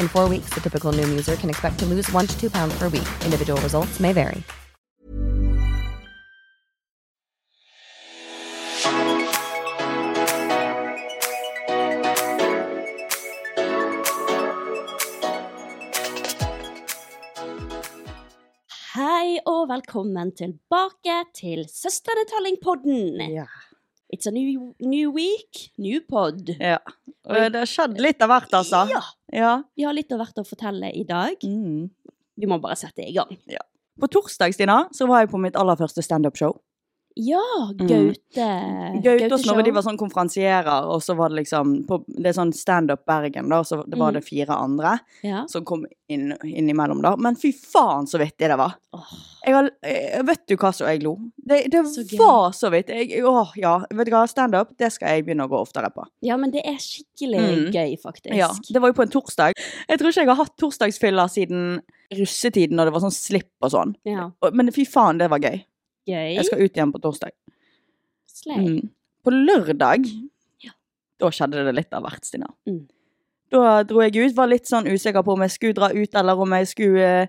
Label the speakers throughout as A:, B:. A: In four weeks, the typical Noom user can expect to lose one to two pounds per week. Individual results may vary.
B: Hei og velkommen tilbake til Søstrene Talling-podden.
C: Ja.
B: It's a new, new week, new pod.
C: ja. Og
B: Oi.
C: det har skjedd litt av hvert, altså.
B: Ja,
C: Ja.
B: vi har litt av hvert å fortelle i dag.
C: Mm.
B: Vi må bare sette i gang.
C: På torsdag, Stina, så var jeg på mitt aller første standup-show.
B: Ja,
C: Mm.
B: Eh, Gaute.
C: Gaute og Snorre
B: Show.
C: de var sånn konferansierer, og så var det liksom på, Det er sånn standup Bergen, da, så det var
B: Mm.
C: det fire andre
B: Ja.
C: som kom inn, innimellom, da. Men fy faen så vittig det var.
B: Åh,
C: Jeg har, eh, vet du hva så jeg lo? Det, det
B: Så gøy.
C: var så vidt. Jeg, åh, ja. Vet du hva, standup, det skal jeg begynne å gå oftere på.
B: ja, men det er skikkelig
C: Mm.
B: gøy, faktisk.
C: Ja, det var jo på en torsdag. Jeg tror ikke jeg har hatt torsdagsfyller siden russetiden, når det var sånn slipp og sånn.
B: Ja,
C: Og- Men fy faen, det var gøy.
B: gøy.
C: Jeg skal ut igjen på torsdag.
B: Slay.
C: Mm. På lørdag,
B: Ja.
C: da skjedde det litt av hvert, Stina.
B: Mm.
C: Da dro jeg ut, var litt sånn usikker på om jeg skulle dra ut, eller om jeg skulle eh,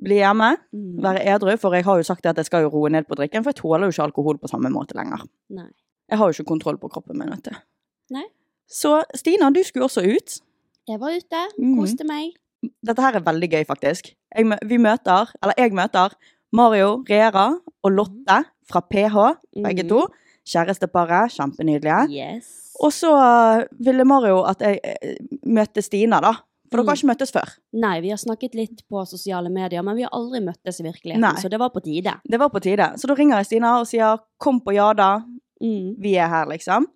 C: bli hjemme,
B: Mm.
C: være edru, for jeg har jo sagt det at jeg skal jo roe ned på drikken, for jeg tåler jo ikke alkohol på samme måte lenger.
B: Nei.
C: Jeg har jo ikke kontroll på kroppen min, vet du.
B: Nei.
C: Så Stina, du skulle også ut.
B: Jeg var ute,
C: Mm.
B: koste meg.
C: Dette her er veldig gøy, faktisk. Jeg, mø- vi møter, eller jeg møter, Mario Rera og Lotte fra PH, begge
B: Mm.
C: to. Kjæresteparet, kjempenydelige.
B: Yes.
C: Og så eh, ville Mario at jeg eh, møtte Stina, da. For
B: Mm.
C: dere har ikke møttes før.
B: Nei, vi har snakket litt på sosiale medier, men vi har aldri møttes i virkeligheten,
C: Nei.
B: så det var på tide.
C: Det var på tide. Så da ringer jeg Stina og sier 'kom på Jada,
B: Mm.
C: vi er her', liksom.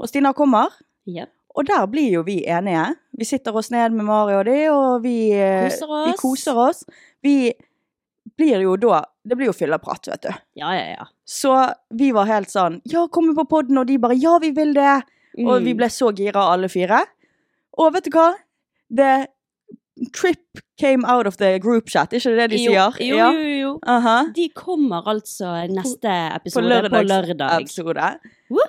C: Og Stina kommer,
B: Yep.
C: og der blir jo vi enige. Vi sitter oss ned med Mario og de, og vi eh,
B: Koser
C: Vi
B: oss.
C: koser oss. Vi blir jo da Det blir jo fylleprat, vet du.
B: Ja, ja, ja.
C: Så vi var helt sånn Ja, kom på podden, og de bare Ja, vi vil det!
B: Mm.
C: Og vi ble så gira, alle fire. Og vet du hva? The trip came out of the group chat, ikke det de sier?
B: Jo,
C: Ja.
B: jo, jo, jo.
C: Aha.
B: De kommer altså neste
C: På
B: episode på
C: lørdags
B: lørdag.
C: episode.
B: Woohoo!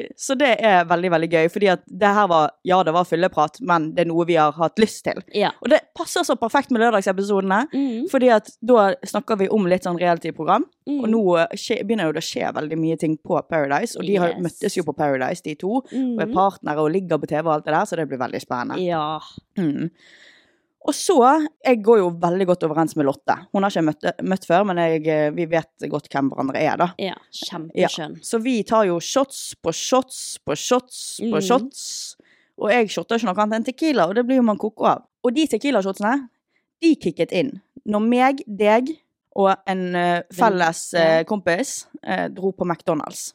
C: Eh, så det er veldig, veldig gøy, fordi at det her var Ja, det var fylleprat, men det er noe vi har hatt lyst til.
B: ja.
C: Og det passer så perfekt med lørdagsepisodene,
B: Mm,
C: fordi at da snakker vi om litt sånn reality-program.
B: mm,
C: Og nå eh, skje, begynner jo det å skje veldig mye ting på Paradise, og de har,
B: Yes.
C: møttes jo på Paradise, de to.
B: mm.
C: Og er partnere og ligger på TV og alt det der, så det blir veldig spennende.
B: Ja.
C: Mm. Og så Jeg går jo veldig godt overens med Lotte. Hun har ikke møtt, møtt før, men jeg, eh, vi vet godt hvem hverandre er, da.
B: ja. Kjempeskjønn.
C: Så vi tar jo shots på shots på shots på
B: Mm.
C: shots. Og jeg shotter ikke noe annet enn Tequila, og det blir jo man koko av. Og de Tequila-shotsene, de kicket inn når meg, deg og en eh, felles eh, kompis eh, dro på McDonald's.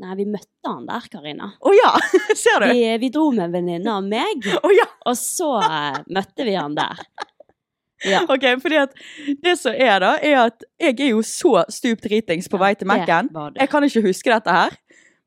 B: Nei, vi møtte han der, Karina.
C: Å ja! Ser du?
B: Vi, vi dro med en venninne av meg,
C: Å ja!
B: og så eh, møtte vi han der. Ja.
C: Ok, fordi at det som er da, er at jeg er jo så stupt dritings på vei til Mac-en.
B: Det var du.
C: Jeg kan ikke huske dette her,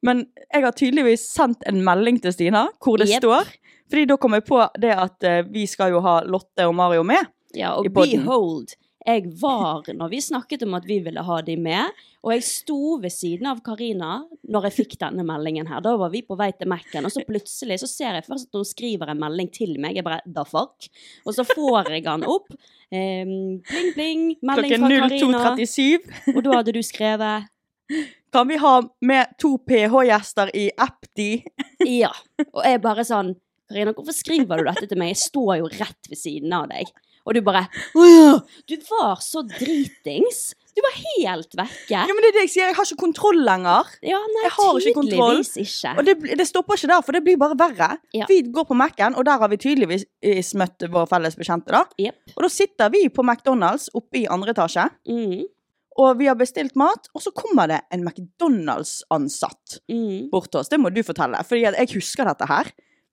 C: men jeg har tydeligvis sendt en melding til Stina hvor det
B: Jep.
C: står. Fordi da kom jeg på det at eh, vi skal jo ha Lotte og Mario med.
B: Ja, og
C: i podden.
B: behold, Jeg var når vi snakket om at vi ville ha de med, og jeg sto ved siden av Karina når jeg fikk denne meldingen her. Da var vi på vei til Mac-en, og så plutselig så ser jeg først at hun skriver en melding til meg. Jeg bare da fuck? Og så får jeg den opp. Ehm, pling, pling. Melding
C: Klokken
B: fra Karina.
C: 02.37.
B: Og da hadde du skrevet
C: Kan vi ha med to PH-gjester i Apti?
B: Ja. Og jeg bare sånn Karina, hvorfor skriver du dette til meg? Jeg står jo rett ved siden av deg. Og du bare Å ja! Du var så dritings. Du var helt vekke.
C: Ja, men det er det jeg sier. Jeg har ikke kontroll lenger.
B: Ja, nei,
C: Jeg har ikke kontroll.
B: tydeligvis ikke.
C: Og det, blir- det stopper ikke der, for det blir bare verre.
B: Ja.
C: Vi går på Mac-en, og der har vi tydeligvis eh, møtt vår felles bekjente. da.
B: Jep.
C: Og da sitter vi på McDonald's oppe i andre etasje,
B: Mm,
C: og vi har bestilt mat, og så kommer det en McDonald's-ansatt
B: mm.
C: bort til oss. Det må du fortelle, for jeg husker dette her,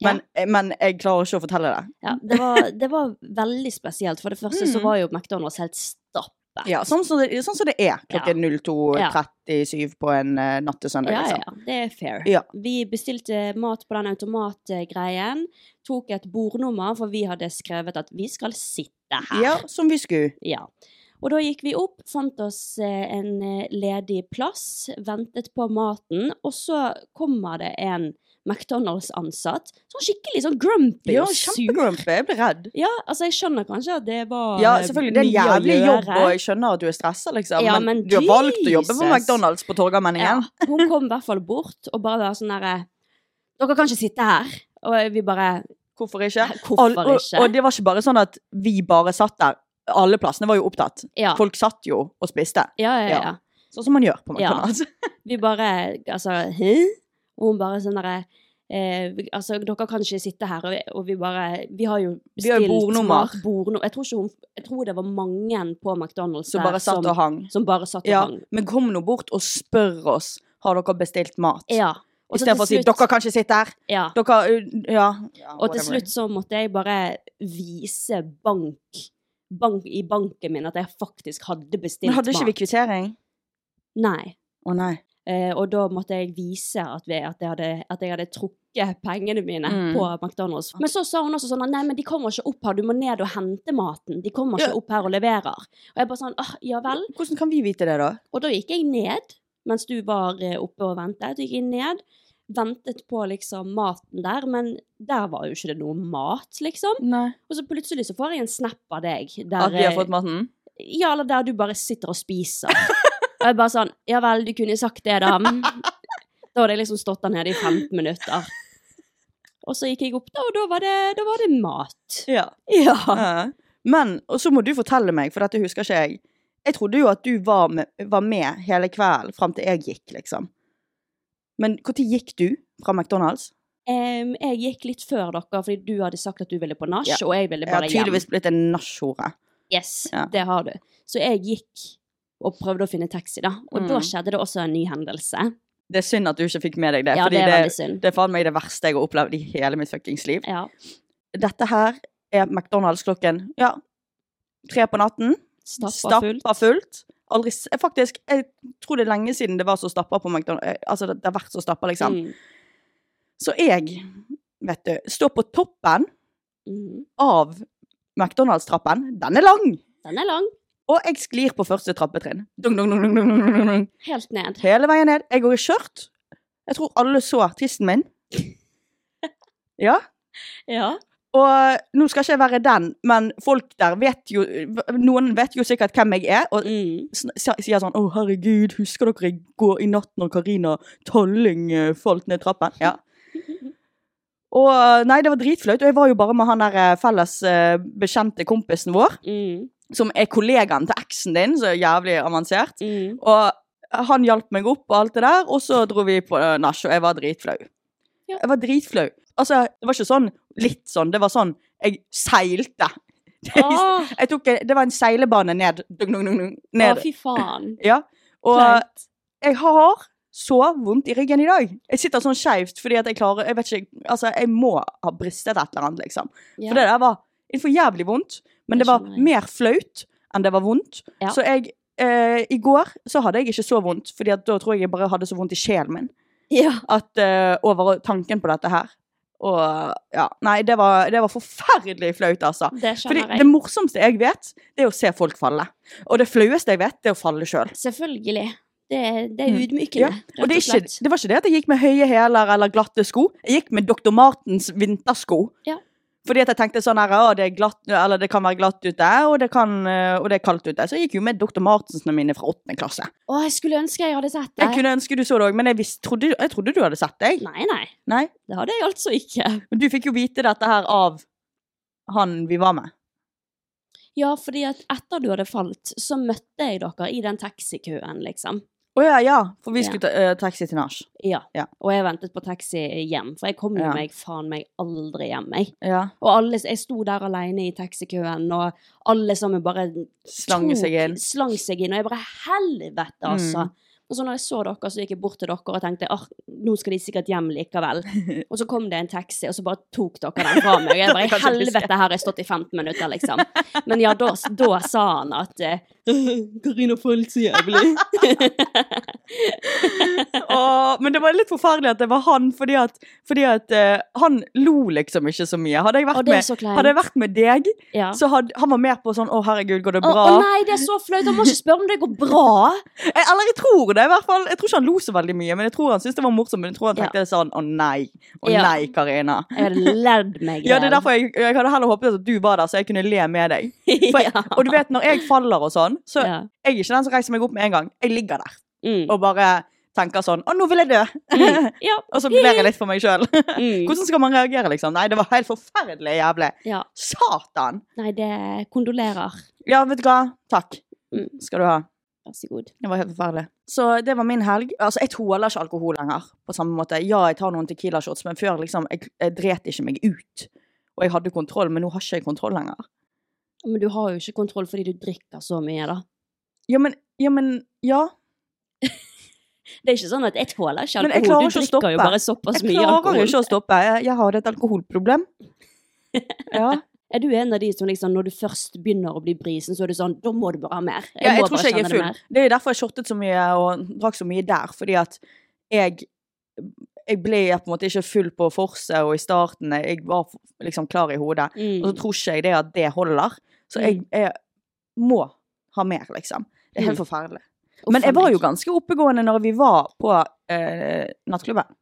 C: men, eh, men jeg klarer ikke å fortelle det.
B: Ja, det, var, det var veldig spesielt. For det første så var jo McDonald's helt stappet.
C: Ja, sånn som det, sånn som det er klokken 02.37 på en eh, natt til søndag,
B: Ja,
C: liksom.
B: ja, det er fair.
C: Ja.
B: Vi bestilte mat på den automatgreien. Tok et bordnummer, for vi hadde skrevet at vi skal sitte her.
C: Ja, som vi skulle.
B: Ja. Og da gikk vi opp, fant oss eh, en eh, ledig plass, ventet på maten, og så kommer det en McDonald's-ansatt. Sånn skikkelig sånn grumpy
C: Ja,
B: og sur.
C: kjempegrumpy. Jeg ble redd.
B: Ja, altså jeg skjønner kanskje at det var
C: Ja,
B: eh,
C: selvfølgelig. Det er en
B: mye å
C: jævlig
B: gjøre.
C: jobb, og jeg skjønner at du er stressa, liksom.
B: Ja,
C: men,
B: men
C: du har valgt å jobbe på
B: Jesus.
C: McDonald's på Torgallmenningen.
B: Ja, hun kom i hvert fall bort og bare var sånn derre Dere kan ikke sitte her. Og vi bare
C: Hvorfor ikke?
B: Hvorfor
C: Al- og,
B: ikke?
C: Og det var ikke bare sånn at vi bare satt der. Alle plassene var jo opptatt.
B: Ja.
C: Folk satt jo og spiste.
B: Ja, ja, ja.
C: Ja. Sånn som man gjør på
B: Ja.
C: McDonald's.
B: Vi bare Altså, hæ? Og hun bare sånn derre Eh, vi- altså, dere kan ikke sitte her, og vi, og vi bare Vi har jo
C: Vi har jo bordnummer.
B: mat, bordnummer. Jeg tror, ikke hun, jeg tror det var mange på McDonald's
C: Som
B: der
C: bare satt
B: som,
C: og hang.
B: som bare sånn satt og
C: Ja,
B: hang.
C: men kom nå bort og spør oss har dere bestilt mat.
B: Ja. Og så til
C: Istedenfor å si
B: slutt-
C: 'dere kan ikke sitte her'.
B: ja.
C: Dere uh, Ja. ja
B: Og til
C: whatever.
B: slutt så måtte jeg bare vise bank, bank i banken min at jeg faktisk hadde bestilt
C: Men hadde ikke vi
B: mat.
C: kvittering?
B: Nei.
C: Å nei.
B: Eh, og da måtte jeg vise at, vi, at, jeg, hadde, at jeg hadde trukket pengene mine
C: Mm.
B: på McDonald's. Men så sa hun også sånn at nei, men de kommer ikke opp her, du må ned og hente maten. De kommer
C: Ja.
B: ikke opp her og leverer. Og jeg bare sånn, ah, ja vel.
C: Hvordan kan vi vite det, da?
B: Og da gikk jeg ned, mens du var eh, oppe og ventet. Da gikk jeg ned, ventet på liksom maten der, men der var jo ikke det noe mat, liksom.
C: Nei.
B: Og så plutselig så får jeg en snap av deg. Der, eh,
C: At vi har fått maten?
B: Ja, eller der du bare sitter og spiser. Og jeg bare sånn Ja vel, du kunne sagt det, da. Da hadde jeg liksom stått der nede i 15 minutter. Og så gikk jeg opp, da, og da var det, da var det mat.
C: Ja.
B: Ja.
C: Ja. Men, og så må du fortelle meg, for dette husker ikke jeg. Jeg trodde jo at du var med, var med hele kvelden fram til jeg gikk, liksom. Men når gikk du fra McDonald's?
B: Em, jeg gikk litt før dere, fordi du hadde sagt at du ville på nach,
C: Ja.
B: og jeg ville
C: Jeg har
B: bare hjem.
C: tydeligvis blitt en nachhore.
B: Yes,
C: Ja.
B: det har du. Så jeg gikk og prøvde å finne taxi, da. Og da
C: Mm.
B: skjedde det også en ny hendelse.
C: Det er synd at du ikke fikk med deg det,
B: Ja,
C: fordi
B: det er
C: det,
B: veldig synd.
C: det er faen meg det verste jeg har opplevd i hele mitt fuckings liv.
B: Ja.
C: Dette her er McDonald's klokken ja, tre på natten.
B: Stappa
C: Stappa
B: fullt.
C: fullt. Aldri, s- faktisk, jeg tror det er lenge siden det var så stappa på McDonald's. Altså, det det har vært så stappa, liksom.
B: Mm.
C: Så jeg, vet du, står på toppen
B: Mm.
C: av McDonald's-trappen. Den er lang!
B: Den er lang.
C: Og jeg sklir på første trappetrinn. Dung, dung, dung, dung, dung, dung, dung, dung.
B: Helt ned.
C: Hele veien ned. Jeg går i skjørt. Jeg tror alle så tissen min. Ja.
B: Ja.
C: Og nå skal ikke jeg være den, men folk der vet jo Noen vet jo sikkert hvem jeg er, og
B: Mm.
C: sn- sier sånn Å, herregud, husker dere i går i natt når Karina Talling eh, falt ned trappen? Ja. Og eh, nei, det var dritflaut. Og jeg var jo bare med han der eh, felles eh, bekjente kompisen vår,
B: Mm.
C: som er kollegaen til eksen din, så jævlig avansert.
B: Mm.
C: Og han hjalp meg opp og alt det der, og så dro vi på eh, nach, og jeg var dritflau.
B: Ja.
C: Jeg var dritflau. Altså, det var ikke sånn litt sånn, det var sånn Jeg seilte.
B: Åh,
C: Jeg tok, en- det var en seilebane ned. Dung, dung, dung, dung,
B: å,
C: ned.
B: fy faen.
C: Ja. Og
B: Kleint.
C: jeg har så vondt i ryggen i dag. Jeg sitter sånn skeivt fordi at jeg klarer Jeg vet ikke, altså jeg må ha bristet et eller annet, liksom.
B: Ja.
C: For det der var det er for jævlig vondt. Men
B: Det
C: det var
B: skjønner jeg.
C: mer flaut enn det var vondt.
B: Ja.
C: Så jeg eh, I går så hadde jeg ikke så vondt, Fordi at da tror jeg jeg bare hadde så vondt i sjelen min
B: ja.
C: at, eh, over tanken på dette her. Og ja, nei, det var, det var forferdelig flaut, altså.
B: Det
C: Fordi
B: skjønner
C: det
B: jeg.
C: morsomste jeg vet, det er å se folk falle. Og det flaueste jeg vet, det er å falle sjøl.
B: Selvfølgelig. Det, det er
C: Mm. Ja.
B: ydmykende,
C: Og
B: rett
C: det, er
B: og
C: ikke,
B: slett.
C: det var ikke det at jeg gikk med høye hæler eller glatte sko. Jeg gikk med Dr. Martens vintersko.
B: Ja.
C: Fordi at jeg tenkte sånn her, å, det, er glatt, eller det kan være glatt ute, og det, kan, eh, og det er kaldt ute. Så jeg gikk jo med Dr. Martensene mine fra åttende klasse.
B: Å, jeg skulle ønske jeg hadde sett det.
C: Jeg kunne ønske du så det òg, men jeg, visste- trodde, jeg trodde du hadde sett det. jeg.
B: Nei, nei.
C: Nei.
B: Det hadde jeg altså ikke.
C: Men du fikk jo vite dette her av han vi var med.
B: Ja, fordi at etter du hadde falt, så møtte jeg dere i den taxikøen, liksom.
C: Å ja, ja, for vi
B: Ja.
C: skulle ta eh, taxi til nach.
B: Ja.
C: Ja.
B: Og jeg ventet på taxi hjem, for jeg kom jo
C: Ja.
B: meg faen meg aldri hjem, jeg.
C: Ja.
B: Og alle, jeg sto der alene i taxikøen, og alle sammen bare
C: Slange
B: tok-
C: seg inn. Mm.
B: Slang seg inn, og jeg bare helvete, altså. Og så når jeg så dere, så gikk jeg bort til dere og tenkte ah, nå skal de sikkert hjem likevel. Og så kom det en taxi, og så bare tok dere den fra meg. Og jeg bare i
C: Det kan jeg huske.
B: helvete, her har jeg stått i 15 minutter, liksom. Men ja, da, da sa han at eh, Karina falt så jævlig.
C: Åh, men det var litt forferdelig at det var han, fordi at, fordi at eh, han lo liksom ikke så mye. Hadde jeg
B: Og
C: vært,
B: det er
C: med,
B: så kleint.
C: hadde jeg vært med deg,
B: Ja.
C: så hadde han var mer på sånn 'Å, herregud, går det
B: Å,
C: bra?'
B: å nei, det er så flaut! Han må ikke spørre om det går bra!
C: Eh, Eller jeg tror det, i hvert fall. Jeg tror ikke han lo så veldig mye, men jeg tror han syntes det var morsomt. Men jeg tror han
B: Ja.
C: tenkte sånn 'Å nei, å
B: Ja.
C: nei, Karina'.
B: Jeg hadde ledd meg
C: Ja, det er derfor jeg, jeg hadde heller håpet at du var der, så jeg kunne le med deg. For,
B: Ja.
C: Og du vet, når jeg faller og sånn, så
B: Ja.
C: jeg er ikke den som reiser meg opp med en gang. Jeg ligger der
B: Mm.
C: og bare tenker sånn 'Å, nå vil jeg dø'.
B: Mm. Ja.
C: og så ler jeg litt for meg sjøl.
B: Mm.
C: Hvordan skal man reagere, liksom? Nei, det var helt forferdelig jævlig.
B: ja.
C: Satan!
B: Nei, det kondolerer.
C: Ja, vet du hva? Takk
B: Mm.
C: skal du ha.
B: Vær så god.
C: Det var helt forferdelig. Så det var min helg. Altså, jeg tåler ikke alkohol lenger på samme måte. Ja, jeg tar noen Tequila shots, men før liksom Jeg, jeg dret ikke meg ut. Og jeg hadde kontroll, men nå har ikke jeg kontroll lenger.
B: Men du har jo ikke kontroll fordi du drikker så mye, da.
C: Ja, men Ja, men Ja.
B: Det er ikke sånn at jeg tåler ikke
C: Men
B: alkohol. Du
C: jeg klarer ikke å
B: drikker jo
C: stoppe.
B: bare såpass
C: Jeg
B: mye
C: klarer
B: alkohol.
C: ikke å stoppe. Jeg, jeg har et alkoholproblem. Ja.
B: Er du en av de som liksom, når du først begynner å bli brisen, så er du sånn Da må du bare ha mer.
C: Ja, jeg
B: må
C: tror
B: bare
C: ikke jeg er
B: kjenne det
C: full.
B: mer.
C: Det er jo derfor jeg shortet så mye og drakk så mye der. Fordi at jeg, jeg ble på en måte ikke full på forset og i starten. Jeg var liksom klar i hodet.
B: Mm.
C: Og så tror ikke jeg det at det holder. Så jeg, jeg må ha mer, liksom. Det er helt
B: Mm.
C: forferdelig.
B: Uff,
C: Men jeg
B: faen
C: var jo
B: meg.
C: ganske oppegående når vi var på eh, nattklubben.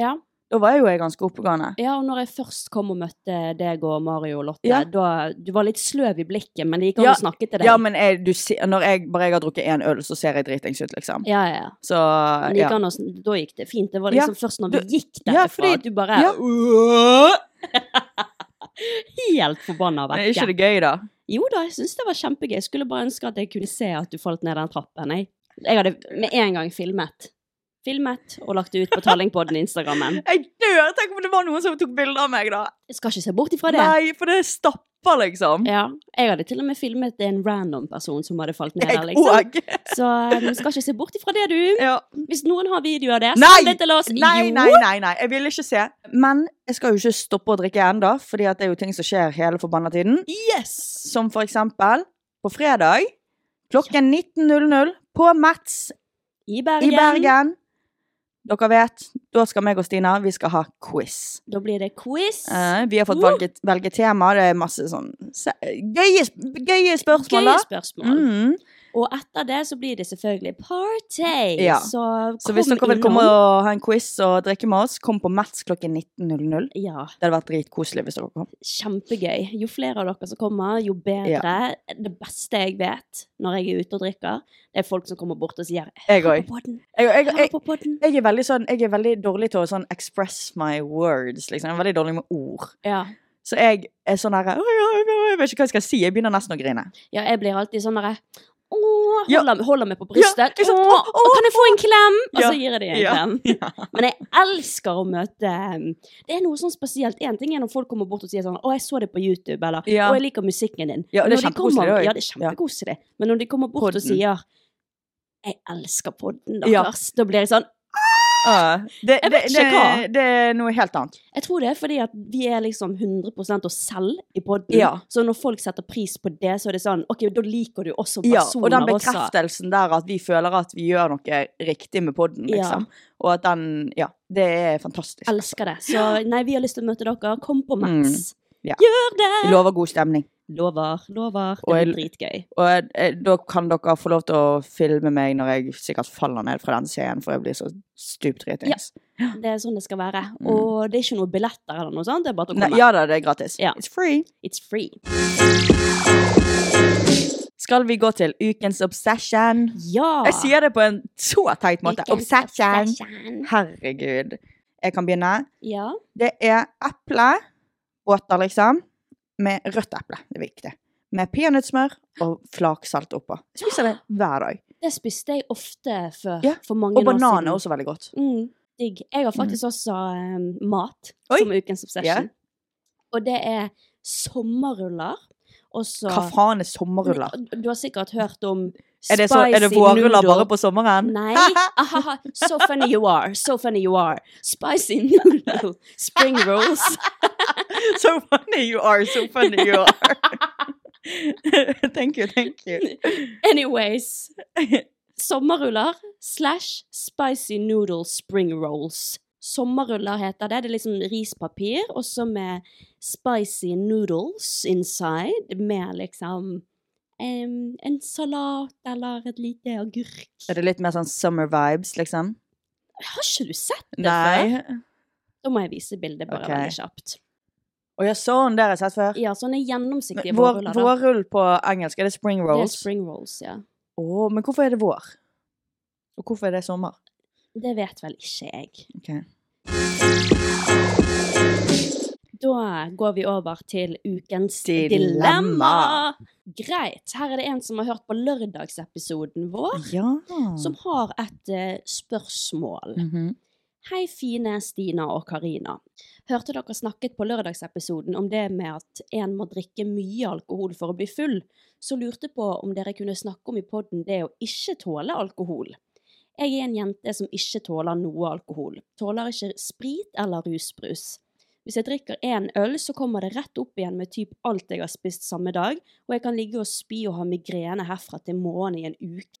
B: ja.
C: Da var jeg jo jeg ganske oppegående.
B: ja, og når jeg først kom og møtte deg og Mario og Lotte,
C: Ja.
B: da Du var litt sløv i blikket, men det gikk an
C: Ja.
B: å snakke til deg.
C: Ja, men jeg, du, se- når jeg bare jeg har drukket én øl, så ser jeg dritings ut, liksom.
B: ja, ja. ja.
C: Så
B: Men det
C: ja.
B: gikk an å sn- Da gikk det fint. Det var
C: Ja.
B: liksom først når vi
C: Du-
B: gikk
C: Ja,
B: derfra,
C: fordi-
B: at du bare
C: Ja.
B: Helt forbanna
C: Men er ikke
B: vekke.
C: det gøy, da?
B: Jo da, jeg syns det var kjempegøy. Jeg skulle bare ønske at jeg kunne se at du falt ned den trappen. Jeg, jeg hadde med en gang filmet. Filmet og lagt det ut på Tallingpodden Instagrammen.
C: Jeg dør! Tenk om det var noen som tok bilde av meg, da.
B: Jeg skal ikke se bort ifra det.
C: Nei, for det stapper, liksom.
B: Ja, jeg hadde til og med filmet en random person som hadde falt ned
C: Jeg
B: der, liksom.
C: òg.
B: Så um, skal ikke se bort ifra det, du.
C: Ja.
B: Hvis noen har video av det,
C: Nei!
B: send det til oss. Altså,
C: Nei,
B: Jo.
C: nei, nei, nei. Jeg vil ikke se. Men jeg skal jo ikke stoppe å drikke ennå, fordi at det er jo ting som skjer hele forbanna tiden.
B: Yes!
C: Som for eksempel på fredag klokken 19.00 på Mats
B: I
C: i
B: Bergen.
C: Bergen. Dere vet, da skal meg og Stina vi skal ha quiz.
B: Da blir det quiz.
C: Eh, vi har fått valge, velge tema. Det er masse sånn se- gøye, sp- gøye spørsmål, da.
B: Gøye spørsmål.
C: Mm.
B: Og etter det så blir det selvfølgelig party.
C: Ja.
B: Så kom
C: Så hvis dere vil komme
B: innom.
C: og ha en quiz og drikke med oss, kom på Mats klokken 19.00.
B: Ja,
C: Det hadde vært dritkoselig hvis dere kom.
B: kjempegøy. Jo flere av dere som kommer, jo bedre. Det beste jeg vet når jeg er ute og drikker, det er folk som kommer bort og sier
C: Jeg
B: «Hør
C: òg.
B: på podden,
C: Jeg, jeg,
B: hør
C: jeg,
B: på podden».
C: jeg, er veldig sånn, jeg er veldig dårlig til å sånn express my words. liksom. Jeg er veldig dårlig med ord.
B: Ja.
C: Så jeg er sånn her «Oi, oi, oi, oi», Jeg vet ikke hva jeg skal si. Jeg begynner nesten å grine.
B: ja, jeg blir alltid sånn derre Åh,
C: Ja.
B: holder, holder meg på brystet.
C: ikke sant?
B: Åh,
C: Åh, åh,
B: kan jeg få en klem? Og
C: Ja.
B: så gir jeg dem en
C: Ja.
B: klem. Men jeg elsker å møte Det er noe sånn spesielt. Én ting er når folk kommer bort og sier sånn 'Å, jeg så det på YouTube', eller
C: Ja.
B: 'Å, jeg liker musikken din'.
C: Ja,
B: Men
C: det
B: når
C: er
B: de
C: kjempekoselig, det
B: kommer,
C: også.
B: ja, det er kjempekoselig. Men når de kommer bort
C: Podden.
B: og sier 'Jeg elsker podden
C: Ja.
B: deres', da blir jeg sånn
C: Ja, det,
B: Jeg
C: det,
B: vet ikke
C: det,
B: hva.
C: det er noe helt annet.
B: Jeg tror det er fordi at vi er liksom 100 oss selv i podden.
C: Ja.
B: Så når folk setter pris på det, så er det sånn OK, da liker du oss som
C: Ja, og
B: personer
C: den
B: også.
C: bekreftelsen der at vi føler at vi gjør noe riktig med podden,
B: Ja.
C: liksom. Og at den Ja, det er fantastisk.
B: Elsker det. Så nei, vi har lyst til å møte dere. Kom på Max.
C: Mm. ja.
B: Gjør det!
C: Jeg lover god stemning.
B: Lover, lover.
C: Og
B: Det
C: jeg-
B: blir dritgøy.
C: Og eh, da kan dere få lov til å filme meg når jeg sikkert faller ned fra den scenen, for jeg blir så stupdritings.
B: Det er sånn det skal være. Og det er ikke noe billetter eller noe sånt. Det er bare å
C: Mm. Nei,
B: komme.
C: ja da, det er gratis.
B: Ja.
C: It's free.
B: It's free.
C: Skal vi gå til ukens obsession?
B: Ja!
C: Jeg sier det på en så teit måte.
B: Ukens
C: Obsession.
B: obsession.
C: Herregud. Jeg kan begynne.
B: Ja.
C: Det er eple, båter liksom, med rødt eple, det er viktig. Med peanøttsmør og flaksalt oppå. Jeg Spiser det hver dag.
B: Det spiste jeg ofte før.
C: Ja,
B: For mange
C: Og
B: år
C: banan
B: siden.
C: er også veldig godt.
B: Mm, digg. Jeg har faktisk også eh, mat
C: Oi.
B: som ukens obsession. Og det er sommerruller. Og så
C: Hva faen er sommerruller?
B: Du har sikkert hørt om
C: Er det, så, er det
B: uh, spicy
C: vårruller
B: noodle-
C: bare på sommeren?
B: Nei. Ahaha. So funny you are. So funny you are. Spicy noodle. Spring rolls.
C: so funny you are, so funny you are. thank you, thank you.
B: Anyways. Sommerruller slash spicy noodle spring rolls. Sommerruller heter det. Det er liksom rispapir, og så med spicy noodles inside, med liksom em, en salat eller et lite agurk.
C: Er det litt mer sånn summer vibes, liksom?
B: Har ikke du sett det før?
C: Nei.
B: Da må jeg vise bildet bare
C: Ok.
B: veldig kjapt.
C: Å ja, sånn, det har jeg sett før.
B: Ja, sånne gjennomsiktige
C: Men Vår,
B: vårruller. da.
C: vårrull på engelsk, er det spring
B: Det er
C: rolls?
B: spring rolls, ja.
C: Åh, men hvorfor er det vår? Og hvorfor er det sommer?
B: Det vet vel ikke jeg.
C: Ok.
B: Da går vi over til ukens dilemma.
C: Dilemma.
B: Greit. Her er det en som har hørt på lørdagsepisoden vår,
C: Ja.
B: som har et eh, spørsmål.
C: Mhm.
B: Hei, fine Stina og Karina. Hørte dere snakket på lørdagsepisoden om det med at en må drikke mye alkohol for å bli full, så lurte på om dere kunne snakke om i podden det å ikke tåle alkohol. Jeg er en jente som ikke tåler noe alkohol. Tåler ikke sprit eller rusbrus. Hvis jeg drikker én øl, så kommer det rett opp igjen med typ alt jeg har spist samme dag, og jeg kan ligge og spy og ha migrene herfra til morgenen i en uke.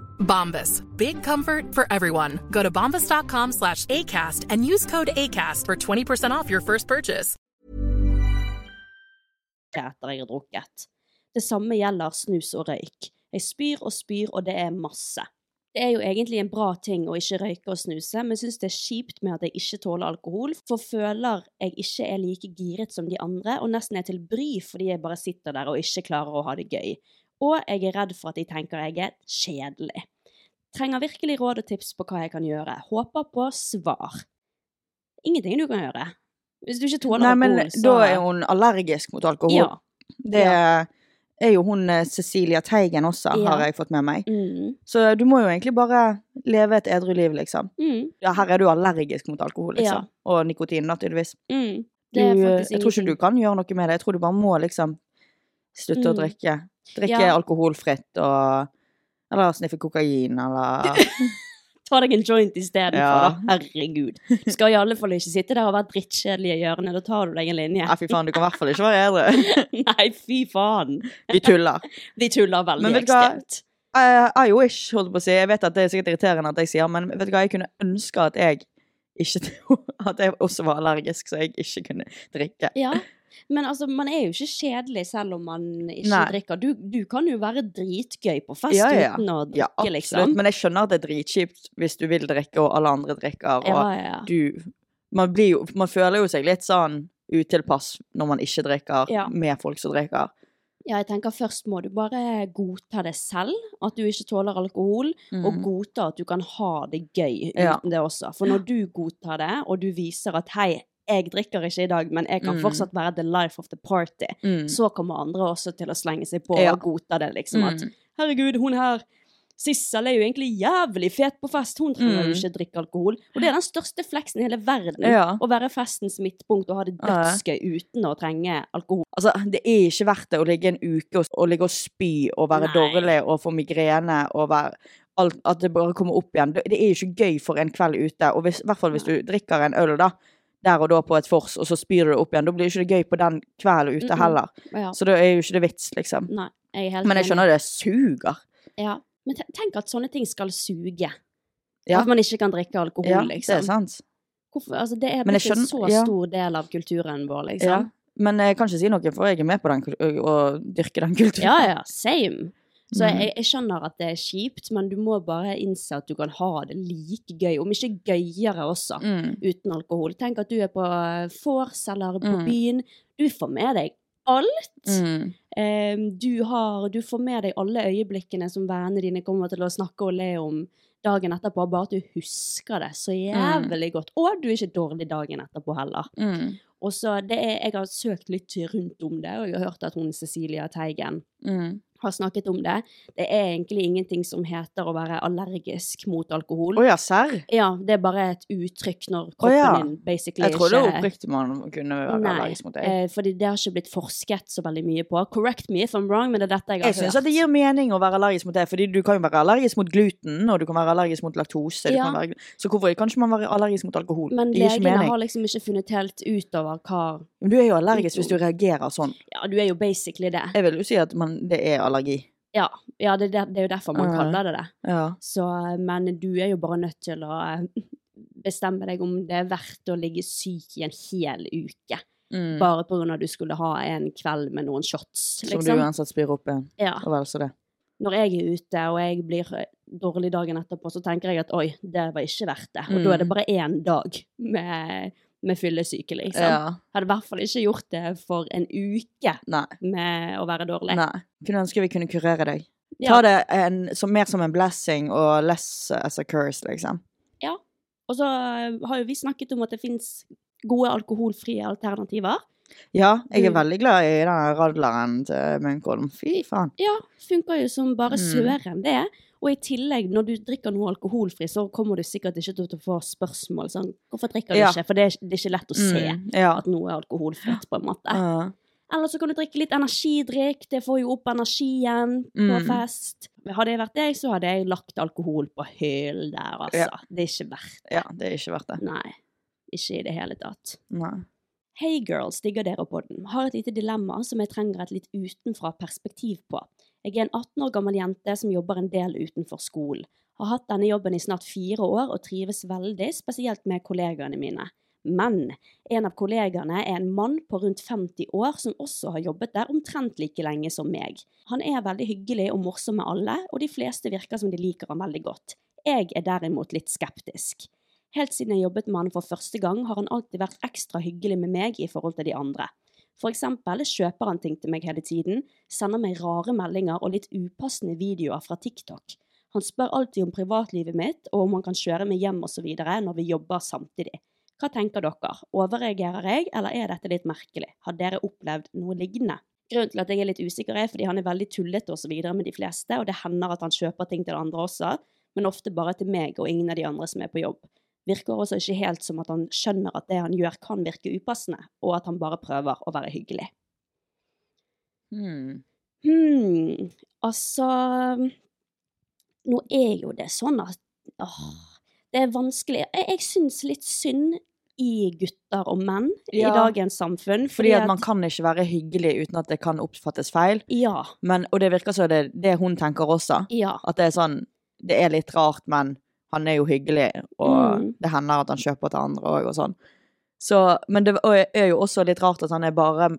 D: Bombas. Big comfort for everyone. Go to bombas.com slash ACAST and use code ACAST for 20% off your first purchase.
B: etter jeg har drukket. Det samme gjelder snus og røyk. Jeg spyr og spyr, og det er masse. Det er jo egentlig en bra ting å ikke røyke og snuse, men syns det er kjipt med at jeg ikke tåler alkohol, for føler jeg ikke er like giret som de andre, og nesten er til bry fordi jeg bare sitter der og ikke klarer å ha det gøy. Og jeg er redd for at de tenker jeg er kjedelig. Trenger virkelig råd og tips på hva jeg kan gjøre. Håper på svar. Ingenting du kan gjøre. Hvis du ikke tåler
C: Nei, men
B: alkohol, så
C: da er hun allergisk mot alkohol.
B: Ja.
C: Det er jo hun eh, Cecilia Teigen også,
B: Ja.
C: har jeg fått med meg.
B: Mm.
C: Så du må jo egentlig bare leve et edru liv, liksom.
B: Mm.
C: Ja, her er du allergisk mot alkohol, liksom.
B: Ja.
C: Og nikotin, da, tydeligvis.
B: Mm.
C: Du, eh,
B: Det er faktisk
C: jeg tror ikke
B: ingenting.
C: du kan gjøre noe med det. Jeg tror du bare må liksom slutte å
B: Mm.
C: drikke. Drikke
B: Ja.
C: alkoholfritt og Eller sniffe kokain, eller
B: Ta deg en joint istedenfor,
C: Ja.
B: da. Herregud. Du skal i alle fall ikke sitte der og være drittkjedelig i hjørnet. Da tar du deg en linje.
C: Ja, fy faen, du kan i hvert fall ikke være edru.
B: Nei, fy faen.
C: Vi tuller.
B: De tuller veldig
C: Men vet du hva?
B: ekstremt.
C: Eh, I wish, holdt jeg på å si. Jeg vet at det er sikkert irriterende at jeg sier, men vet du hva, jeg kunne ønske at jeg ikke At jeg også var allergisk, så jeg ikke kunne drikke.
B: Ja. Men altså, man er jo ikke kjedelig selv om man ikke
C: Nei.
B: drikker. Du, du kan jo være dritgøy på fest
C: Ja, ja.
B: uten å drikke,
C: Ja, absolutt.
B: liksom.
C: Men jeg skjønner at det er dritkjipt hvis du vil drikke, og alle andre drikker, og
B: Ja, ja, ja.
C: du man, blir jo, man føler jo seg litt sånn utilpass når man ikke drikker
B: Ja.
C: med folk som drikker.
B: Ja, jeg tenker først må du bare godta det selv, at du ikke tåler alkohol, og godta at du kan ha det gøy uten
C: Mm. Ja.
B: det også. For når du godtar det, og du viser at hei, jeg drikker ikke i dag, men jeg kan
C: Mm.
B: fortsatt være the life of the party,
C: Mm.
B: så kommer andre også til å slenge seg på
C: Ja.
B: og godta det, liksom. At
C: Mm.
B: herregud, hun her Sissel er jo egentlig jævlig fet på fest, hun trenger jo
C: Mm.
B: ikke drikke alkohol. Og det er den største fleksen i hele verden.
C: Ja.
B: Å være festens midtpunkt og ha det
C: Ja.
B: dødsgøy uten å trenge alkohol.
C: Altså, det er ikke verdt det å ligge en uke og, og ligge og spy og
B: Nei.
C: være dårlig og få migrene og være alt, At det bare kommer opp igjen. Det, det er jo ikke gøy for en kveld ute, og hvis- i hvert fall hvis du drikker en øl, da. Der og da på et vors, og så spyr du det opp igjen. Da blir det ikke gøy på den kvelden ute
B: Mm-mm.
C: heller.
B: Ja.
C: Så da er jo ikke det vits, liksom.
B: Nei, jeg er helt
C: Men jeg
B: enig.
C: skjønner det suger.
B: Ja. Men te- tenk at sånne ting skal suge.
C: Ja.
B: At man ikke kan drikke alkohol,
C: Ja, det
B: liksom.
C: er sant.
B: Hvorfor, altså, det er
C: Men
B: blitt
C: jeg
B: en
C: skjønner-
B: så
C: ja.
B: stor del av kulturen vår,
C: Ja.
B: liksom.
C: Men jeg kan ikke si noe, for jeg er med på den, kul- å dyrke den
B: Ja,
C: kulturen.
B: ja, same. Så
C: Mhm.
B: jeg, jeg skjønner at det er kjipt, men du må bare innse at du kan ha det like gøy, om ikke gøyere også,
C: Mm.
B: uten alkohol. Tenk at du er på eh, vors eller på
C: Mm.
B: byen. Du får med deg alt.
C: Mm.
B: Eh, du, har, du får med deg alle øyeblikkene som vennene dine kommer til å snakke og le om dagen etterpå, bare at du husker det så jævlig godt. Og du er ikke dårlig dagen etterpå heller.
C: Mm.
B: Og så det er, Jeg har søkt litt rundt om det, og jeg har hørt at hun Cecilia Teigen
C: Mm.
B: har snakket om det. Det er egentlig ingenting som heter å være allergisk mot
C: Å
B: alkohol.
C: ja, serr?
B: Ja, det er bare et uttrykk når kroppen
C: Å ja.
B: din basically
C: Jeg trodde
B: ikke
C: oppriktig man kunne være allergisk mot deg.
B: eh, fordi det har ikke blitt forsket så veldig mye på. Correct me if I'm wrong, men det er dette jeg har
C: Jeg syns
B: hørt.
C: at det gir mening å være allergisk mot det, fordi du kan jo være allergisk mot gluten, og du kan være allergisk mot laktose, du
B: Ja.
C: kan være, så hvorfor kan ikke man være allergisk mot alkohol?
B: Men
C: det gir ikke
B: legene
C: mening.
B: har liksom ikke funnet helt ut over hva
C: Men du er jo allergisk hvis du reagerer sånn.
B: Ja, du er jo basically det.
C: Jeg vil jo si at man, det er allergi.
B: Ja, ja det, er der- det er jo derfor man
C: Ja.
B: kaller det det.
C: Ja.
B: Så, men du er jo bare nødt til å eh, bestemme deg om det er verdt å ligge syk i en hel uke.
C: Mm.
B: Bare på grunn av at du skulle ha en kveld med noen shots,
C: Som du
B: liksom.
C: uansett spyr opp igjen.
B: Ja.
C: Og vel så det.
B: Når jeg er ute og jeg blir eh, dårlig dagen etterpå, så tenker jeg at oi, det var ikke verdt det. Og da er det
C: Mm.
B: bare én dag med, med fyllesyke, liksom.
C: Ja.
B: Hadde i hvert fall ikke gjort det for en uke
C: Nei.
B: med å være dårlig.
C: Nei. Kunne ønske vi kunne kurere deg.
B: Ja.
C: Ta det en, som, mer som en blessing og less as a curse, liksom.
B: Og så eh, har jo vi snakket om at det fins gode alkoholfrie alternativer.
C: Ja, jeg er
B: Du-
C: veldig glad i den radleren til Munkholm. Fy faen.
B: Ja, funker jo som bare
C: Mm.
B: søren, det. Og i tillegg, når du drikker noe alkoholfri, så kommer du sikkert ikke til å få spørsmål sånn Hvorfor drikker du
C: Ja.
B: ikke? For det er, det er ikke lett å se
C: Mm, ja.
B: at noe er alkoholfritt, på en måte.
C: Ja.
B: Eller så kan du drikke litt energidrikk, det får jo opp energien på
C: Mm.
B: fest. Hadde jeg vært deg, så hadde jeg lagt alkohol på hyllen der, altså.
C: Ja.
B: Det er ikke verdt
C: ja, det er ikke verdt det.
B: Nei. Ikke i det hele tatt.
C: Nei.
B: Hei girls, digger dere podden. Har et lite dilemma som jeg trenger et litt utenfra perspektiv på. Jeg er en 18 år gammel jente som jobber en del utenfor skolen. Har hatt denne jobben i snart fire år og trives veldig, spesielt med kollegaene mine. Men en av kollegaene er en mann på rundt 50 år som også har jobbet der omtrent like lenge som meg. Han er veldig hyggelig og morsom med alle, og de fleste virker som de liker ham veldig godt. Jeg er derimot litt skeptisk. Helt siden jeg jobbet med han for første gang, har han alltid vært ekstra hyggelig med meg i forhold til de andre. For eksempel kjøper han ting til meg hele tiden, sender meg rare meldinger og litt upassende videoer fra TikTok. Han spør alltid om privatlivet mitt, og om han kan kjøre meg hjem osv. når vi jobber samtidig. Hva tenker dere? Overreagerer jeg, eller er dette litt merkelig? Har dere opplevd noe lignende? Grunnen til at jeg er litt usikker er fordi han er veldig tullete osv. med de fleste, og det hender at han kjøper ting til andre også, men ofte bare til meg og ingen av de andre som er på jobb. virker også ikke helt som at han skjønner at det han gjør kan virke upassende, og at han bare prøver å være hyggelig.
C: Hmm.
B: Hmm, altså Nå er jo det sånn at åh,
C: Mm.
B: det er vanskelig. Jeg, jeg syns litt synd i gutter og menn i
C: Ja.
B: dagens samfunn.
C: Fordi at man kan ikke være hyggelig uten at det kan oppfattes feil.
B: Ja.
C: Men, og det virker som det er det hun tenker også.
B: Ja.
C: At det er sånn Det er litt rart, men han er jo hyggelig, og
B: Mm.
C: det hender at han kjøper til andre òg, og sånn. Så, men det er jo også litt rart at han er bare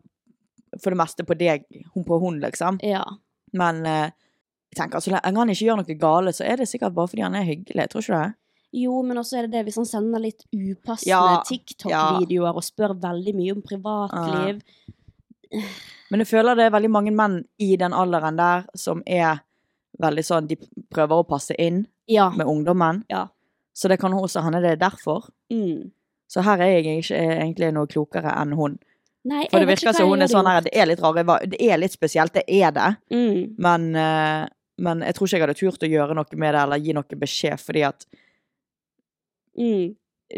C: for det meste på deg, hun på hun, liksom.
B: ja.
C: Men eh, jeg tenker, så lenge han ikke gjør noe gale, så er det sikkert bare fordi han er hyggelig, tror ikke du det?
B: Jo, men også er det det hvis han sender litt upassende
C: Ja,
B: TikTok-videoer og spør veldig mye om privatliv.
C: Men jeg føler det er veldig mange menn i den alderen der som er veldig sånn De prøver å passe inn
B: Ja.
C: med ungdommen.
B: Ja.
C: Så det kan også hende det er derfor.
B: Mm.
C: Så her er jeg ikke egentlig noe klokere enn hun.
B: Nei,
C: For
B: jeg
C: det
B: vet ikke
C: virker
B: hva
C: som hun
B: jeg
C: er sånn
B: hadde
C: her Det er litt rare, val- det er litt spesielt, det er det.
B: gjort. Mm.
C: Men, eh, men jeg tror ikke jeg hadde turt å gjøre noe med det eller gi noe beskjed, fordi at
B: Mm.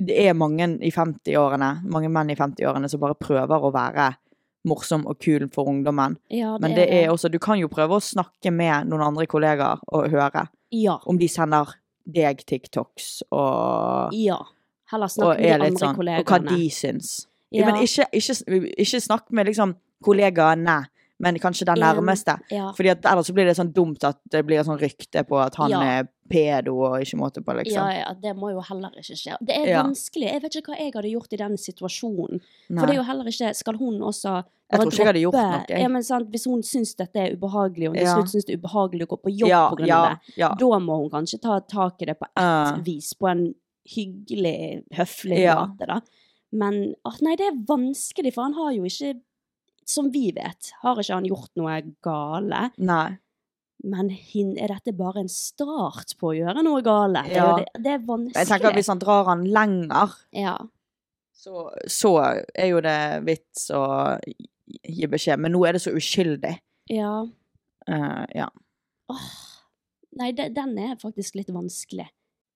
C: det er mange i 50-årene, mange menn i 50-årene som bare prøver å være morsom og kul for ungdommen.
B: Ja, det
C: Men det er også Du kan jo prøve å snakke med noen andre kollegaer og høre
B: Ja.
C: om de sender deg TikToks og,
B: ja. Heller
C: og
B: snakke med de
C: er
B: andre
C: litt sånn Og hva
B: kollegene.
C: de syns.
B: ja.
C: Men ikke, ikke, ikke snakk med liksom kollegaene, men kanskje den
B: En-
C: nærmeste.
B: ja.
C: Fordi at ellers så blir det sånn dumt at det blir et sånn rykte på at han
B: Ja.
C: er pedo og ikke måte på,
B: Ja,
C: liksom.
B: ja, det må jo heller ikke skje. Det er
C: Ja.
B: vanskelig. Jeg vet ikke hva jeg hadde gjort i den situasjonen. For
C: Nei.
B: det er jo heller ikke Skal hun også
C: Jeg tror ikke jeg hadde gjort
B: droppe-
C: noe, jeg.
B: Ja, men sant, Hvis hun syns dette er ubehagelig, og hun til
C: Ja.
B: slutt syns det er ubehagelig å gå på jobb
C: ja,
B: på grunn
C: ja,
B: av det,
C: Ja. Eh,
B: da må hun kanskje ta tak i det på ett
C: Ja.
B: vis, på en hyggelig, høflig
C: Ja.
B: måte, da. Men at nei, det er vanskelig, for han har jo ikke Som vi vet, har ikke han gjort noe gale.
C: Nei.
B: Men hin, er dette bare en start på å gjøre noe gale? Det, er
C: Ja.
B: jo det, det er vanskelig.
C: Jeg tenker at hvis han drar han lenger,
B: Ja.
C: så, så er jo det vits å gi beskjed. Men nå er det så uskyldig.
B: ja.
C: Eh, ja.
B: Åh. Nei, de, den er faktisk litt vanskelig.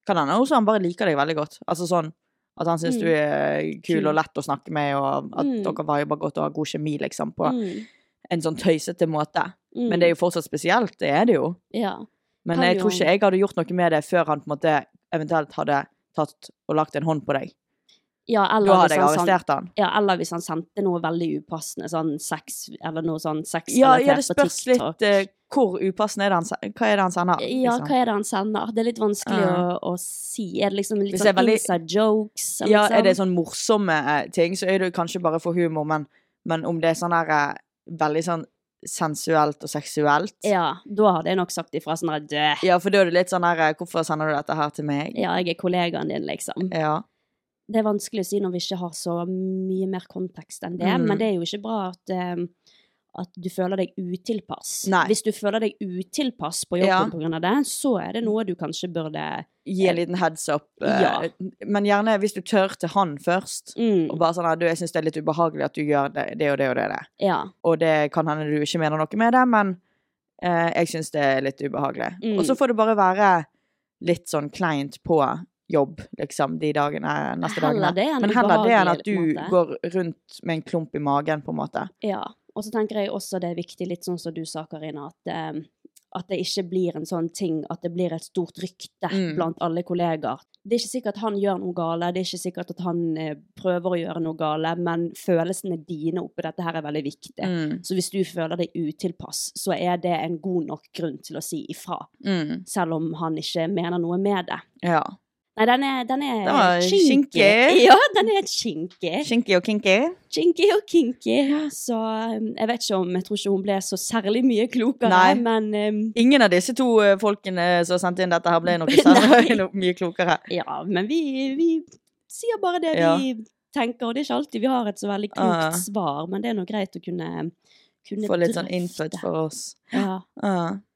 C: Kan hende også han bare liker deg veldig godt. Altså sånn at han syns
B: Mm.
C: du er kul
B: Kul.
C: og lett å snakke med, og at
B: Mm.
C: dere viber godt og har god kjemi, liksom, på
B: Mm.
C: en sånn tøysete måte.
B: Mm.
C: Men det er jo fortsatt spesielt, det er det jo.
B: Ja.
C: Men
B: Kan
C: jeg
B: jo-
C: tror ikke jeg hadde gjort noe med det før han på en måte eventuelt hadde tatt og lagt en hånd på deg.
B: Ja, eller,
C: Da hadde
B: hvis
C: jeg
B: han send-
C: arrestert han.
B: ja, eller hvis han sendte noe veldig upassende, sånn sex eller noe sånn
C: Ja,
B: sexrelatert
C: ja, det
B: på
C: spørs
B: TikTok.
C: litt eh, hvor upassende er det han sender. Hva er det han sender?
B: ja,
C: liksom?
B: hva er det han sender? Det er litt vanskelig å,
C: Ja.
B: å si. Er det liksom litt
C: Hvis det
B: sånn
C: er veldig-
B: inside jokes? eller
C: Ja, er det
B: sånn?
C: sånn morsomme eh, ting, så er det jo kanskje bare for humor, men, men om det er sånn der eh, veldig sånn sensuelt og seksuelt
B: Ja, da hadde jeg nok sagt ifra sånn at «Dø,
C: Ja, for da er det litt sånn der eh, Hvorfor sender du dette her til meg?
B: ja, jeg er kollegaen din, liksom.
C: Ja.
B: det er vanskelig å si når vi ikke har så mye mer kontekst enn det,
C: Mm.
B: men det er jo ikke bra at, eh, at du føler deg utilpass.
C: Nei.
B: Hvis du føler deg utilpass på
C: Ja.
B: jobben på pga. det, så er det noe du kanskje burde
C: Gi en liten heads up. eh,
B: Ja.
C: Men gjerne hvis du tør til han først.
B: mm,
C: Og bare sånn her, du, jeg syns det er litt ubehagelig at du gjør det, det og det og det. og det.
B: Ja.
C: Og det kan hende du ikke mener noe med det, men eh, jeg syns det er litt ubehagelig.
B: Mm.
C: Og så får det bare være litt sånn kleint på jobb, liksom, de dagene, neste
B: Heller
C: dagene.
B: det enn
C: men heller det enn
B: ubehagelig,
C: at du
B: på en måte.
C: går rundt med en klump i magen, på en måte.
B: ja. Og så tenker jeg også det er viktig, litt sånn som du sa, Karina, at, eh, at det ikke blir en sånn ting at det blir et stort rykte
C: Mm.
B: blant alle kollegaer. Det er ikke sikkert at han gjør noe gale, det er ikke sikkert at han eh, prøver å gjøre noe gale, men følelsene dine oppi dette her er veldig viktig.
C: Mm.
B: Så hvis du føler deg utilpass, så er det en god nok grunn til å si ifra,
C: Mm.
B: selv om han ikke mener noe med det.
C: Ja.
B: Nei, den er, den er
C: Den var
B: kinky.
C: kinky.
B: Ja, den er kinky.
C: Kinky og kinky.
B: Kinky og kinky. Så um, jeg vet ikke om Jeg tror ikke hun ble så særlig mye klokere,
C: Nei.
B: men um,
C: Ingen av disse to eh, folkene som sendte inn dette, her ble noe
B: Nei.
C: særlig noe mye klokere.
B: Ja, men vi, vi sier bare det
C: Ja.
B: vi tenker, og det er ikke alltid vi har et så veldig klokt
C: Ah.
B: svar, men det er nå greit å kunne, kunne
C: Få litt sånn
B: drøfte.
C: input for oss.
B: Ja.
C: Ah.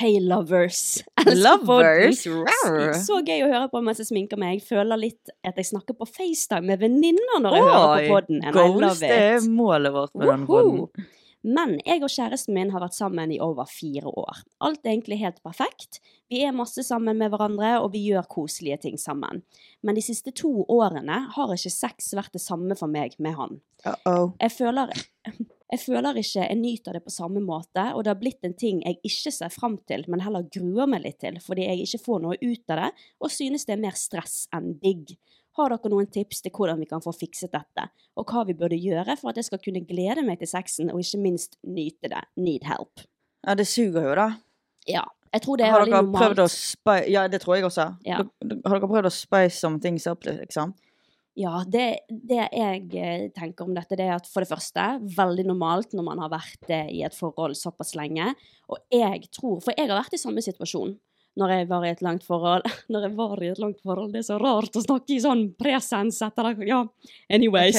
B: Hei, lovers. Elsker podden.
C: Lovers! Rar.
B: Så gøy å høre på mens jeg sminker meg. Jeg føler litt at jeg snakker på FaceTime med venninner når jeg hører på podden. and I love
C: Goals, det er
B: it.
C: målet vårt med den
B: Woho!
C: podden.
B: Men jeg og kjæresten min har vært sammen i over fire år. Alt er egentlig helt perfekt. Vi er masse sammen med hverandre, og vi gjør koselige ting sammen. Men de siste to årene har ikke sex vært det samme for meg med han.
C: Uh-oh.
B: Jeg føler, jeg føler ikke jeg nyter det på samme måte, og det har blitt en ting jeg ikke ser fram til, men heller gruer meg litt til, fordi jeg ikke får noe ut av det, og synes det er mer stress enn digg. Har dere noen tips til hvordan vi kan få fikset dette, og hva vi burde gjøre for at jeg skal kunne glede meg til sexen, og ikke minst nyte det? Need help.
C: Ja, det suger jo, da.
B: Ja. Jeg tror det er
C: har
B: veldig
C: dere
B: normalt.
C: prøvd å spice Ja, det tror jeg også.
B: Ja.
C: Dere- Har dere prøvd å spice some things up, liksom?
B: Ja, det, det jeg eh, tenker om dette, det er at for det første, veldig normalt når man har vært eh, i et forhold såpass lenge. Og jeg tror For jeg har vært i samme situasjon når jeg var i et langt forhold. Når jeg var i et langt forhold, det er så rart å snakke i sånn presens etter det. Ja, anyways.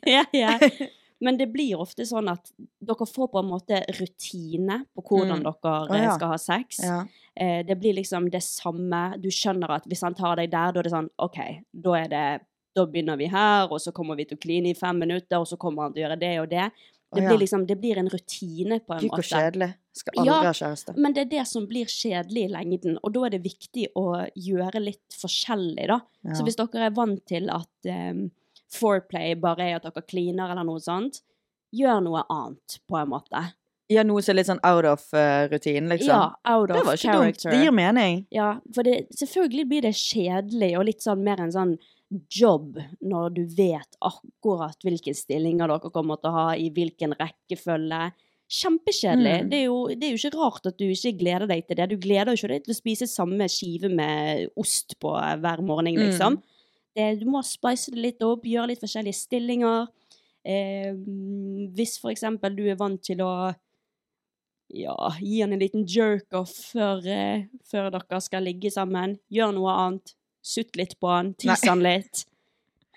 B: ja, ja. Men det blir ofte sånn at dere får på en måte rutine på hvordan
C: Mm.
B: dere
C: Å,
B: eh,
C: ja.
B: skal ha sex.
C: Ja.
B: Eh, det blir liksom det samme. Du skjønner at hvis han tar deg der, da er det sånn OK, da er det Da begynner vi her, og så kommer vi til å kline i fem minutter, og så kommer han til å gjøre det og det. Det
C: Å, ja.
B: blir liksom Det blir en rutine, på en
C: Gikk og
B: måte.
C: kjedelig. Skal
B: Ja.
C: aldri ha kjæreste.
B: Men det er det som blir kjedelig i lengden, og da er det viktig å gjøre litt forskjellig, da.
C: Ja.
B: Så hvis dere er vant til at um, foreplay bare er at dere kliner eller noe sånt, gjør noe annet, på en måte.
C: Ja, noe som er litt sånn out of eh, rutinen, liksom.
B: Ja, out
C: det
B: of
C: var ikke
B: character.
C: dumt. Det gir mening.
B: Ja, for det, selvfølgelig blir det kjedelig og litt sånn mer en sånn jobb når du vet akkurat hvilke stillinger dere kommer til å ha, i hvilken rekkefølge. Kjempekjedelig.
C: Mm.
B: Det, er jo, det er jo ikke rart at du ikke gleder deg til det. Du gleder jo ikke deg til å spise samme skive med ost på eh, hver morgen,
C: Mm.
B: liksom. Det, du må spice det litt opp, gjøre litt forskjellige stillinger. Eh, hvis for eksempel du er vant til å ja, gi han en liten jerk-off før, eh, før dere skal ligge sammen. Gjør noe annet. Sutt litt på han. Tis han litt.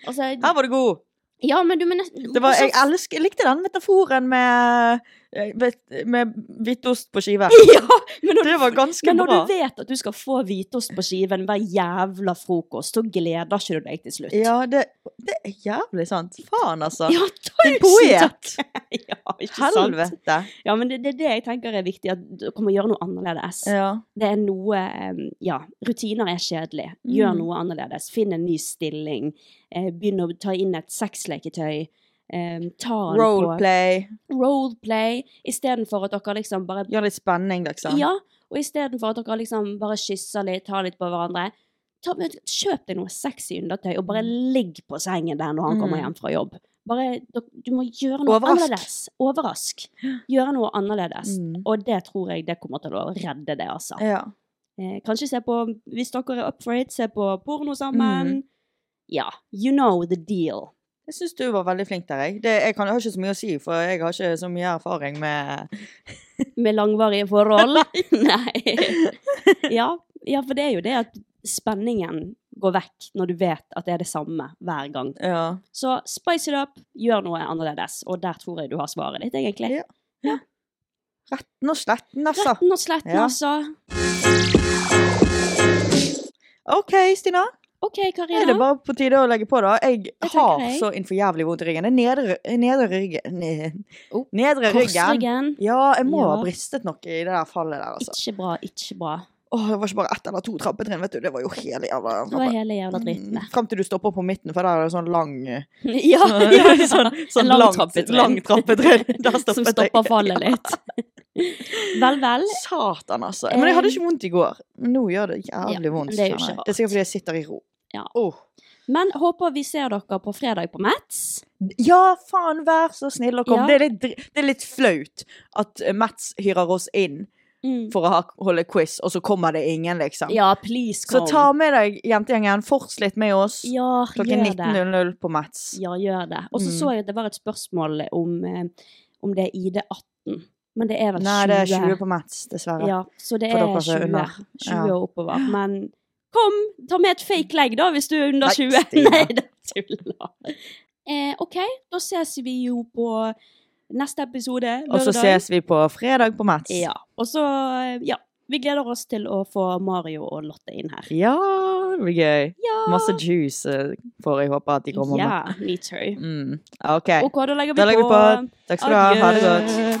B: Altså,
C: Her var du god!
B: ja, men du, men nesten-
C: Det var,
B: også-
C: jeg, elsker, jeg likte den metaforen med, eh, vet- med hvitost på skive.
B: Ja, men når,
C: Det var ganske
B: men når
C: bra.
B: du vet at du skal få hvitost på skiven hver jævla frokost, så gleder ikke du deg til slutt.
C: Ja, det, det er jævlig sant. Faen, altså.
B: Ja,
C: Din
B: tusen takk!
C: poet!
B: Ja, ikke sant?
C: Helvete.
B: Ja, men det, det er det jeg tenker er viktig, at du kommer gjøre noe annerledes.
C: Ja.
B: det er noe eh, Ja, rutiner er kjedelig. Gjør
C: Mm.
B: noe annerledes. Finn en ny stilling. Eh, begynn å ta inn et sexleketøy. Eh, ta den
C: Roleplay.
B: på roleplay. Istedenfor at dere liksom bare
C: Gjør litt spenning, liksom.
B: Ja, og istedenfor at dere liksom bare kysser litt, tar litt på hverandre. Ta, vet du, kjøp deg noe sexy undertøy, og bare ligg på sengen der når han kommer
C: Mm.
B: hjem fra jobb. Bare, dok- du må gjøre noe
C: Overrask.
B: annerledes. Overrask. Gjøre noe annerledes.
C: Mm.
B: Og det tror jeg det kommer til å redde det, altså.
C: Ja.
B: Eh, kanskje se på, hvis dere er up for it, se på porno
C: Mhm.
B: sammen. Ja, you know the deal.
C: Jeg syns du var veldig flink der, jeg. Det, jeg, kan, jeg har ikke så mye å si, for jeg har ikke så mye erfaring med
B: Med langvarige forhold. Nei. ja, ja, for det er jo det at spenningen går vekk når du vet at det er det samme hver gang.
C: Ja.
B: Så spice it up, gjør noe annerledes. Og der tror jeg du har svaret ditt, egentlig.
C: Ja. Retten og sletten, altså.
B: Retten og sletten,
C: Ja.
B: altså.
C: OK, Stina.
B: OK,
C: Er det
B: Karina.
C: bare på tide å legge på, da? Jeg
B: Det tenker
C: har
B: jeg.
C: så innenfor jævlig vondt i ryggen. Det er nedre, nedre ryggen ne-
B: Oh,
C: Nedre ryggen.
B: Korsryggen.
C: Ja, jeg må ha
B: Ja.
C: bristet noe i det der fallet der, altså.
B: Ikke bra, ikke bra.
C: Åh, det var ikke bare ett eller to trappetrinn, vet du. Det var jo hele jævla
B: Det var hele jævla dritten der.
C: Fram til du stopper på midten, for der er det sånn lang
B: Ja,
C: sånn, sånn
B: En lang
C: langt-
B: trappetrinn.
C: Lang trappetrinn. Der stoppet
B: Som
C: jeg.
B: stopper fallet litt. Vel, vel.
C: Satan, altså. Men jeg hadde ikke vondt i går. Men nå gjør det
B: Ja,
C: jævlig
B: men
C: vondt.
B: det er jo
C: kjenner
B: ikke
C: jeg.
B: rart.
C: det er sikkert fordi jeg sitter i ro.
B: Ja.
C: Åh.
B: Men håper vi ser dere på fredag på Mats.
C: Ja, faen, vær så snill å
B: Ja.
C: komme. Det, er litt, dr- det er litt flaut at eh, Mats hyrer oss inn
B: For-
C: for å ha, holde quiz, og så kommer det ingen, liksom.
B: Ja, please
C: så
B: come.
C: ta med deg jentegjengen, fors litt med oss
B: ja,
C: klokken
B: gjør det.
C: 19.00 på Mats.
B: Ja, gjør det. Og så
C: Mm.
B: så jeg at det var et spørsmål om, eh, om det er ID18. Men det er vel 20.
C: Nei, det er 20 på Mats, dessverre.
B: Ja, så det
C: For
B: er
C: dere som er
B: 20,
C: under.
B: 20
C: Ja.
B: og oppover. Men kom, ta med et fake legg da, hvis du er under
C: Nei,
B: 20.
C: Stina.
B: Nei, da tuller eh, OK, da ses vi jo på neste episode.
C: og så
B: lørdag.
C: ses vi på fredag på Mats.
B: Ja. Og så, ja. Vi gleder oss til å få Mario og Lotte inn her.
C: Ja,
B: det blir gøy.
E: Ja.
B: Masse juice eh, får jeg håpe at de kommer
E: Ja,
B: med.
E: me too.
B: Mm. OK.
E: OK, da legger vi
B: Da legger
E: på.
B: vi på. Takk skal du ha. Ha det godt.
E: Adjø.